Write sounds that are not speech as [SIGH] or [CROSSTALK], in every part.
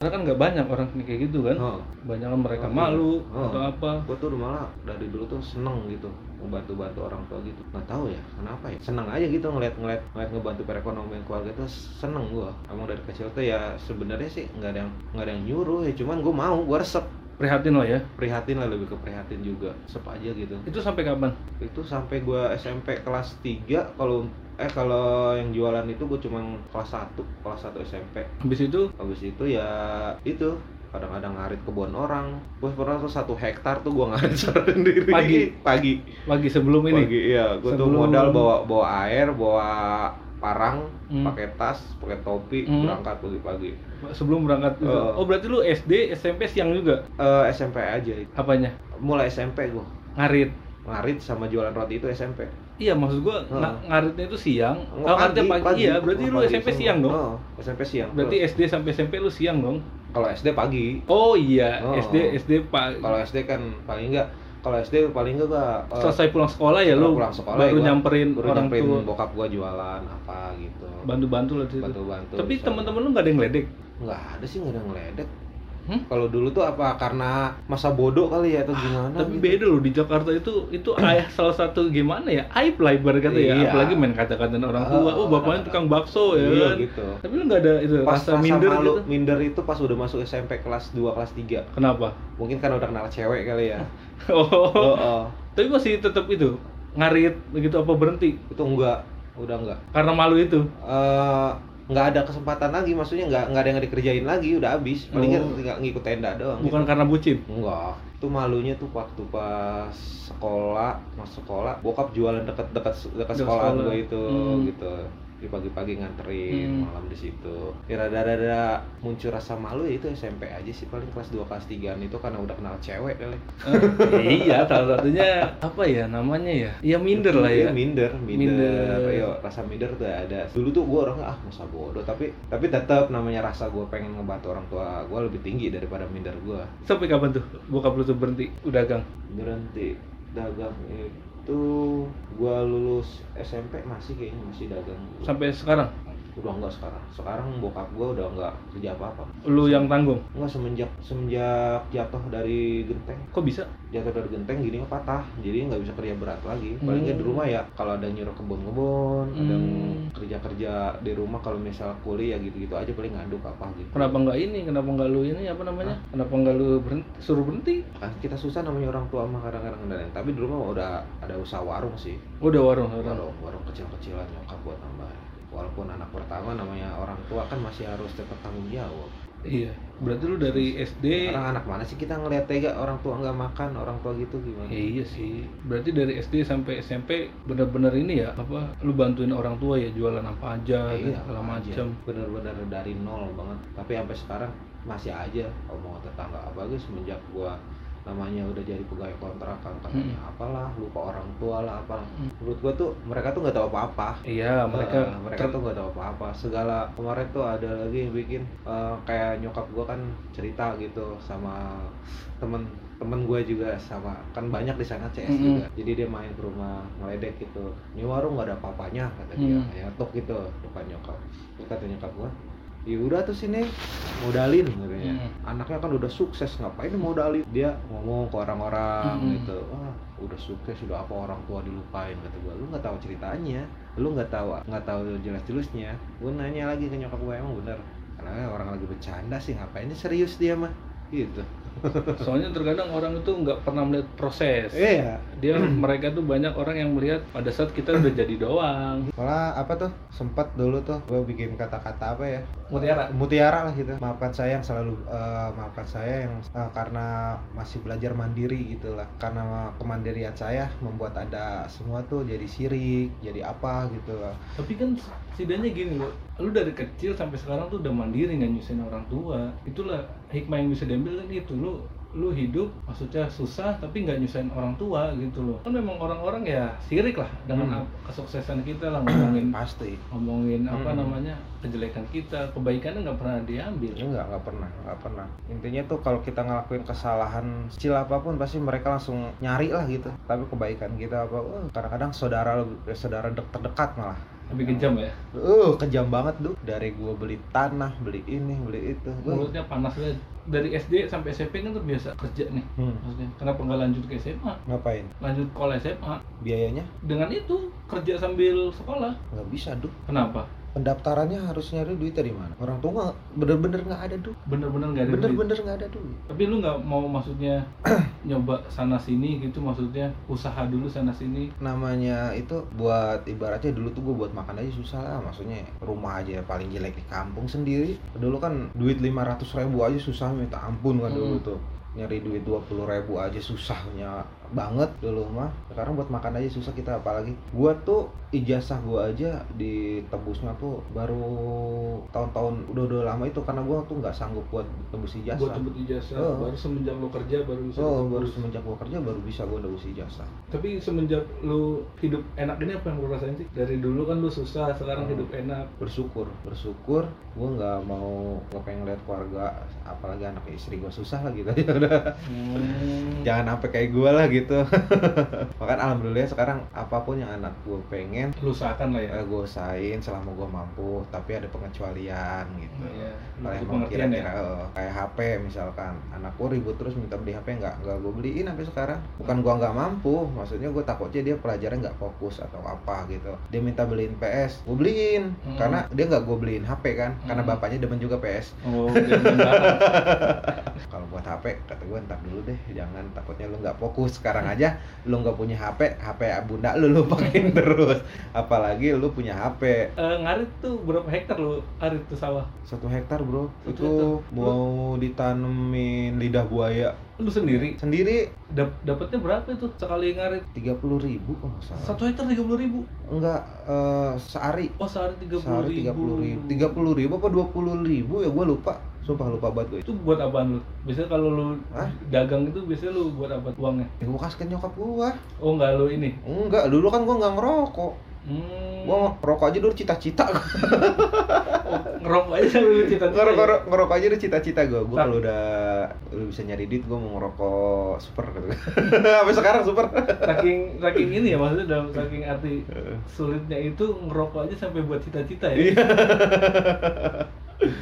Karena kan nggak banyak orang kayak gitu kan. Oh. Banyak kan mereka Oh, malu oh. atau apa. gue tuh malah dari dulu tuh seneng gitu membantu bantu orang tua gitu nggak tahu ya kenapa ya seneng aja gitu ngeliat ngeliat ngeliat ngebantu perekonomian keluarga tuh seneng gue emang dari kecil tuh ya sebenarnya sih nggak ada yang nggak ada yang nyuruh ya cuman gue mau gue resep Prihatin lah ya. prihatin lah lebih ke prihatin juga resep aja gitu Itu sampai kapan? itu sampai gue SMP kelas 3 kalau eh kalau yang jualan itu gue cuman kelas 1 kelas 1 SMP Habis itu habis itu ya itu kadang-kadang ngarit kebun orang gue pernah tuh satu hektar tuh gue ngarit [LAUGHS] secara sendiri Pagi? pagi pagi sebelum ini. pagi iya gue tuh Sebelum- modal bawa bawa air bawa parang Hmm. pakai tas pakai topi Hmm. berangkat pagi-pagi Sebelum berangkat juga. Oh. Oh, berarti lu SD, SMP siang juga Eh, SMP aja apanya? mulai SMP gue Ngarit. ngarit sama jualan roti itu SMP Iya, maksud gua Oh. nga- ngaritnya itu siang. Nggak, Kalau ngaritnya pagi, iya, berarti lu pagi SMP semua. siang dong. Oh, SMP siang Berarti SD sampai SMP lu siang dong. kalau SD pagi Oh iya, Oh. SD SD Pak kalau SD kan paling enggak kalau SD paling enggak gua eh, selesai pulang sekolah ya lu pulang sekolah baru ya gua- nyamperin baru orang nyamperin tua bokap gua jualan apa gitu bantu-bantu lah di situ. bantu-bantu Tapi teman-teman lu nggak ada yang ledek. nggak ada sih nggak ada yang ngeledek Hmm? Ah, kalau dulu tuh apa karena masa bodoh kali ya atau gimana Tapi gitu. beda loh di Jakarta itu [CLEARS THROAT] itu ayah salah satu gimana ya aib lah ibarat kata ya Iya. Ah, apalagi main kata-kataan orang tua oh bapaknya tukang bakso ya iya kan gitu tapi lu nggak ada itu pas rasa minder malu, gitu minder itu pas udah masuk SMP kelas 2 kelas 3 kenapa [LAUGHS] mungkin karena udah kenal cewek kali ya oh, oh, oh. tapi masih tetap itu ngarit begitu apa berhenti itu enggak udah enggak karena malu itu eh nggak ada kesempatan lagi maksudnya nggak nggak ada yang dikerjain lagi udah habis palingan Oh. tinggal ngikut tenda doang bukan karena [LAUGHS] bucin gitu. enggak itu malunya tuh waktu pas sekolah masuk sekolah bokap jualan dekat dekat dekat Dekat sekolahan sekolah. gue itu Hmm. gitu di pagi-pagi nganterin Hmm. malam di situ ya rada-rada muncul rasa malu ya itu SMP aja sih paling kelas 2 kelas 3an itu karena udah kenal cewek kali Eh, iya salah satunya apa ya namanya ya ya minder lah ya Iya, minder minder, Minder. Ayo, rasa minder tuh ada dulu tuh gue orangnya ah masa bodoh tapi tapi tetap namanya rasa gue pengen ngebantu orang tua gue lebih tinggi daripada minder gue sampai kapan tuh bokap lu tuh berhenti dagang berhenti dagang itu gue lulus SMP masih kayaknya masih dagang sampai sekarang udah enggak sekarang sekarang bokap gue udah enggak kerja apa apa lu yang tanggung enggak semenjak semenjak jatuh dari genteng kok bisa jatuh dari genteng gini patah jadi nggak bisa kerja berat lagi palingnya Hmm. di rumah ya kalau ada nyuruh kebun-kebun ada yang kerja-kerja di rumah kalau misal kuliah gitu-gitu aja paling ngaduk apa gitu kenapa nggak ini kenapa nggak lu ini apa namanya kenapa nggak lu berhenti, suruh berhenti Kan kita susah namanya orang tua mah kadang-kadang ngedeneng. tapi di rumah udah ada usaha warung sih Oh, udah warung sekarang warung warung kecil-kecilan nyokap buat nambah walaupun anak pertama namanya orang tua kan masih harus tetap tanggung jawab iya berarti lu dari SD orang anak mana sih kita ngeliat tega orang tua nggak makan orang tua gitu gimana Ya iya sih. Berarti dari SD sampai SMP benar-benar ini ya apa lu bantuin orang tua ya jualan Iya, apa aja dan segala apa Iya, aja. macam. bener-bener dari nol banget tapi sampai sekarang masih aja omong tetangga apalagi semenjak gua namanya udah jadi pegawai kontrakan katanya Hmm. apalah lupa orang tua lah apalah menurut gua tuh mereka tuh nggak tahu apa-apa Iya, mereka Eh, mereka ter- tuh nggak tahu apa-apa segala kemarin tuh ada lagi yang bikin eh, kayak nyokap gua kan cerita gitu sama temen temen gue juga sama kan banyak di sana CS Mm-mm. juga jadi dia main ke rumah ngeledek gitu ini warung nggak ada apa-apanya kata dia Mm. kayak tok gitu depan nyokap terus kata nyokap gua ya udah tuh sini modalin katanya Mm. anaknya kan udah sukses ngapain modalin dia ngomong ke orang-orang Mm-mm. gitu wah udah sukses udah apa orang tua dilupain kata gua lu nggak tahu ceritanya lu nggak tahu nggak tahu jelas jelasnya gue nanya lagi ke nyokap gue emang bener karena orang lagi bercanda sih ngapainnya serius dia mah gitu soalnya terkadang orang itu nggak pernah melihat proses. iya Dia mereka tuh banyak orang yang melihat pada saat kita udah jadi doang. malah apa tuh sempat dulu tuh gue bikin kata-kata apa ya Mutiara. mutiara lah gitu maafkan saya yang selalu eh, maafkan saya yang eh, karena masih belajar mandiri gitulah karena kemandirian saya membuat ada semua tuh jadi sirik jadi apa gitu lah Tapi kan setidaknya gini loh, lu dari kecil sampai sekarang tuh udah mandiri nggak nyusahin orang tua. Itulah hikmah yang bisa diambil kan itu lu lu hidup maksudnya susah tapi nggak nyusahin orang tua gitu loh kan memang orang-orang ya sirik lah dengan Hmm. ap- kesuksesan kita lah ngomongin pasti ngomongin apa Hmm. namanya kejelekan kita kebaikannya nggak pernah diambil Ya nggak nggak pernah, nggak pernah. Intinya tuh kalau kita ngelakuin kesalahan kecil apapun pasti mereka langsung uh, nyari lah gitu. Tapi kebaikan kita apa? wah, Kadang-kadang saudara lebih- eh, saudara dek terdekat malah lebih kejam ya Uh, kejam banget tuh. Dari gua beli tanah, beli ini, beli itu. Gua, mulutnya panas banget dari SD sampai SMP kan terbiasa kerja nih Hmm. maksudnya kenapa nggak lanjut ke SMA ngapain? lanjut sekolah SMA Biayanya dengan itu kerja sambil sekolah nggak bisa, Duh. kenapa Pendaftarannya harus nyari duit dari mana? Orang tua nggak bener-bener nggak ada duit. bener-bener nggak ada duit. Bener-bener nggak ada duit. tapi lu nggak mau maksudnya [CLEARS THROAT] nyoba sana sini gitu maksudnya usaha dulu sana sini namanya itu buat ibaratnya dulu tuh gue buat makan aja susah lah maksudnya rumah aja paling jelek di kampung sendiri dulu kan duit 500 ribu aja susah minta ampun kan dulu Hmm. tuh nyari duit 20 ribu aja susahnya banget dulu mah sekarang buat makan aja susah kita apalagi gua tuh ijazah gua aja ditebusnya tuh baru tahun-tahun udah udah lama itu karena gua tuh nggak sanggup buat tebus ijazah buat tebut ijazah Oh. baru semenjak lu kerja baru bisa so ditebus. baru semenjak gua kerja baru bisa gua tebus ijazah tapi semenjak lu hidup enak ini apa yang lu rasain sih dari dulu kan lu susah sekarang Hmm. hidup enak bersyukur bersyukur gue nggak mau nggak pengen lihat keluarga apalagi anak istri gue susah lah gitu [LAUGHS] ya udah Ya. jangan sampai kayak gue lah gitu [LAUGHS] bahkan alhamdulillah sekarang apapun yang anak gue pengen lu usahakan lah ya eh, gue usahain selama gue mampu tapi ada pengecualian gitu Iya. kalau Butuh emang pengertian ya kira-kira eh, kayak HP misalkan anak gue ribut terus minta beli HP nggak nggak gue beliin sampai sekarang bukan gua nggak mampu maksudnya gue takutnya dia pelajaran nggak fokus atau apa gitu dia minta beliin PS gue beliin Hmm. karena dia nggak gue beliin HP kan karena Hmm. bapaknya demen juga PS oh jangan barang. kalau buat HP kata gue ntar dulu deh jangan takutnya lu nggak fokus sekarang aja lu nggak punya HP HP bunda lu lu [LAUGHS] pakein terus apalagi lu punya HP [LAUGHS] Eh, ngarit tuh berapa hektar lu arit tuh sawah satu hektar bro Satu itu hektar. mau ditanemin lidah buaya lu sendiri sendiri dap dapatnya berapa itu sekali ngarit tiga puluh ribu kalau nggak salah satu hektar tiga puluh ribu enggak eh, sehari oh sehari tiga puluh sehari tiga puluh ribu ribu tiga puluh ribu apa dua puluh ribu ya gue lupa sumpah lupa banget gue itu buat apaan lu? Biasanya kalau lu Hah? dagang itu biasanya lu buat apa uangnya? ya, gue kasih ke nyokap gue Oh enggak lu ini. enggak dulu kan gue nggak ngerokok Hmm. gue ngerokok aja dulu [LAUGHS] cita-cita ngerokok aja sambil lu cita ngerokok ngerokok- ngerokok aja dulu cita-cita gue gue kalau udah udah bisa nyari duit gue mau ngerokok super [LAUGHS] gitu sampai sekarang [LAUGHS] super Saking saking ini ya maksudnya dalam Iya. saking arti sulitnya itu ngerokok aja sampai buat cita-cita ya. Iya.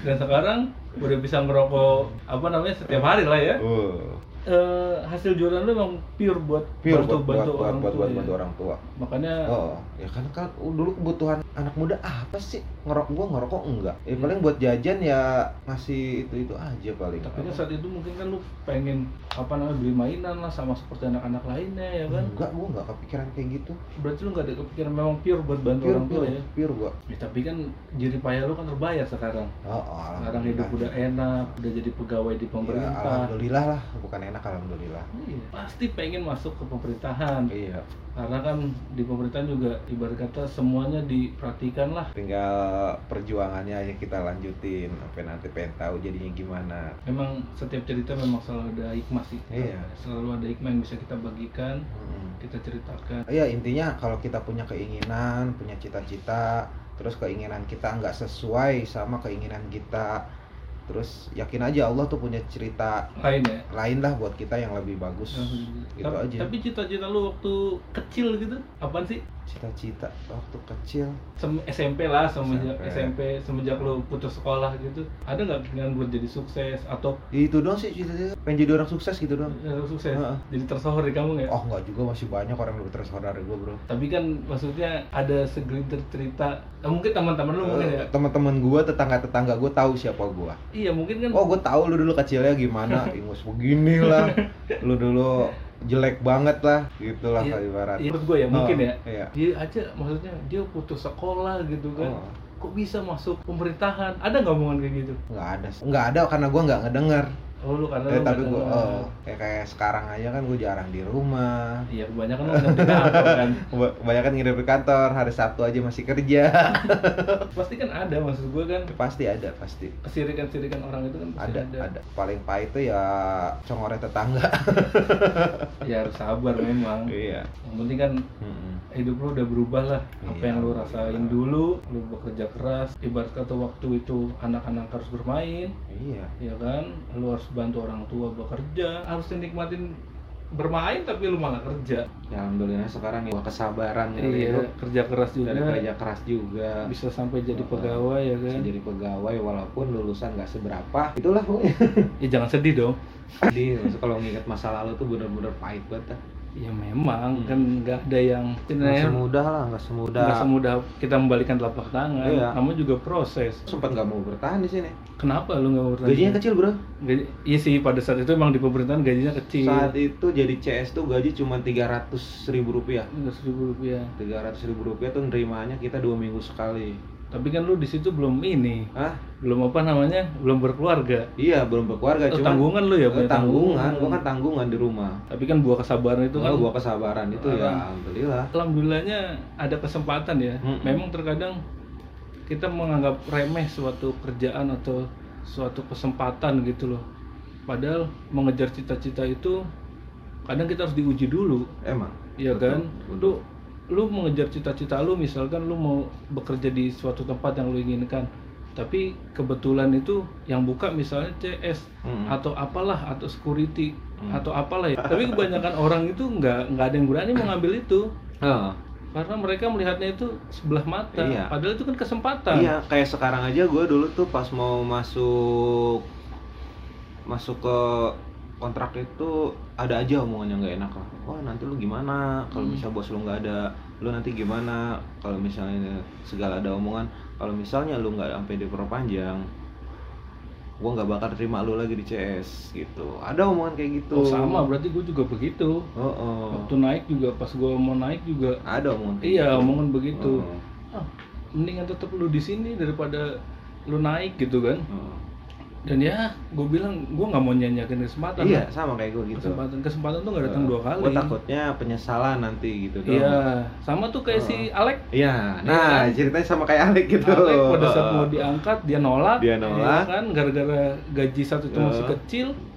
Dan sekarang udah bisa ngerokok apa namanya setiap hari lah ya. Uh, Eh, hasil jualan lu emang pure buat pure bantu buat buat bantu buat orang buat tua buat ya. bantu orang tua Makanya Oh, ya kan kan dulu kebutuhan anak muda apa sih? Ngerok gua ngerokok enggak. Ya paling buat jajan ya ngasih itu-itu aja paling. Hmm. tapi kan saat itu mungkin kan lu pengen apa namanya beli mainan lah sama seperti anak-anak lainnya ya kan. enggak, gua enggak kepikiran kayak gitu. Berarti lu gak ada kepikiran memang pure buat bantu Pure orang tua pure, ya? pure gua. Ya, tapi kan jerih payah lu kan terbayar sekarang. Oh, oh, Sekarang hidup udah enak, udah jadi pegawai di Ya, pemerintah. alhamdulillah lah, bukan enak alhamdulillah. Iya, Pasti pengen masuk ke pemerintahan Iya, Karena kan di pemerintahan juga ibarat kata semuanya diperhatikan lah tinggal perjuangannya aja kita lanjutin sampai nanti pengen tahu jadinya gimana. Memang setiap cerita memang selalu ada hikmah sih Iya. Selalu ada hikmah yang bisa kita bagikan, Mm-mm. kita ceritakan ya intinya kalau kita punya keinginan punya cita-cita terus keinginan kita nggak sesuai sama keinginan kita terus yakin aja Allah tuh punya cerita Lain ya lain lah buat kita yang lebih bagus Mhm. gitu Tapi- aja Tapi cita-cita lu waktu kecil gitu, apaan sih? cita-cita waktu kecil Sem- SMP lah semenjak SMP. SMP. semenjak lo putus sekolah gitu ada nggak keinginan buat jadi sukses atau Ya, itu doang sih cita-cita pengen jadi orang sukses gitu doang eh, sukses Heeh. jadi tersohor di kamu nggak oh nggak juga masih banyak orang yang lebih tersaudara gue bro tapi kan maksudnya ada segelintir cerita eh, mungkin teman-teman lu mungkin ya Eh, teman-teman gue tetangga-tetangga gue tahu siapa gue iya mungkin kan Oh gue tahu lu dulu kecilnya [LAUGHS] gimana, ingus begini lah, lu dulu jelek banget lah, gitulah Iya, lah ibarat. iya, menurut gue ya mungkin Oh, ya Iya. dia aja maksudnya dia putus sekolah gitu kan Oh, kok bisa masuk pemerintahan ada nggak omongan kayak gitu nggak ada, sih. nggak ada karena gue nggak ngedenger. oh lu karena lu Eh, tapi nggak gue, kenal. oh, kayak kayak sekarang aja kan gue jarang di rumah. iya kebanyakan lu nggak kenal, kan Banyak kan ngirim ke kantor, hari Sabtu aja masih kerja. pasti kan ada maksud gue kan [LAUGHS] pasti ada, pasti. kesirikan-sirikan orang itu kan pasti Ada, ada. Paling pahit itu ya congornya tetangga. ya harus sabar memang Iya. yang penting kan Mm-mm. hidup lu udah berubah lah apa Iya, yang lu rasain alhamdulillah. dulu lu bekerja keras ibarat kata waktu itu anak-anak harus bermain Iya. ya kan lu harus bantu orang tua bekerja harus nikmatin bermain tapi lu malah kerja ya alhamdulillah sekarang ya kesabaran Iya, gitu kerja keras juga dari kerja keras juga bisa bisa sampai jadi Heeh. pegawai ya kan jadi pegawai walaupun lulusan nggak seberapa itulah pokoknya [LAUGHS] ya jangan sedih dong jadi maksud- kalau nginget masa lalu tuh bener-bener pahit banget dah. ya memang Hmm. kan nggak ada yang nggak sebenarnya semudah lah nggak semudah ya. nggak semudah kita membalikan telapak tangan Iya. namun juga proses sempat nggak mau bertahan di sini kenapa lu nggak bertanya gajinya kecil bro Gaji- iya sih pada saat itu emang di pemerintahan gajinya kecil saat itu jadi CS tuh gaji cuma 300 ribu rupiah ribu rupiah 300 ribu rupiah tuh nerimanya kita dua minggu sekali tapi kan lu di situ belum ini ah belum apa namanya belum berkeluarga iya belum berkeluarga Oh, cuman tanggungan lu ya Eh, punya tanggungan gua kan tanggungan di rumah tapi kan buah kesabaran itu itu kan gua kesabaran itu ya Orang. alhamdulillah alhamdulillahnya ada kesempatan ya Mm-mm. memang terkadang kita menganggap remeh suatu kerjaan atau suatu kesempatan gitu loh padahal mengejar cita-cita itu kadang kita harus diuji dulu emang ya Betul, kan betul. lu lu mengejar cita-cita lu misalkan lu mau bekerja di suatu tempat yang lu inginkan tapi kebetulan itu yang buka misalnya CS Mm-mm. atau apalah atau security Mm. atau apalah ya tapi [LAUGHS] kebanyakan orang itu nggak nggak ada yang berani mengambil itu Nah. Heeh. karena mereka melihatnya itu sebelah mata Iya. padahal itu kan kesempatan Iya, kayak sekarang aja gue dulu tuh pas mau masuk masuk ke kontrak itu ada aja omongan yang nggak enak lah. Wah nanti lu gimana? Kalau Hmm. misalnya bos lu nggak ada, lu nanti gimana? Kalau misalnya segala ada omongan, kalau misalnya lu nggak sampai diperpanjang, gue nggak bakal terima lu lagi di CS gitu. Ada omongan kayak gitu. Oh, sama berarti gue juga begitu Oh, oh. waktu naik juga pas gue mau naik juga Ada omongan. kayak iya gitu. omongan begitu Oh, ah, mendingan tetap lu di sini daripada lu naik gitu kan oh. dan ya gue bilang gue nggak mau nyanyiakan kesempatan Iya, sama kayak gue gitu. kesempatan kesempatan tuh nggak datang dua kali Gue takutnya penyesalan nanti gitu dong. iya sama tuh kayak si Alek Iya. Nah, ceritanya sama kayak Alek gitu. Alek [LAUGHS] pada saat mau diangkat dia nolak ya Dia nolak. kan gara-gara gaji satu itu masih Heeh. kecil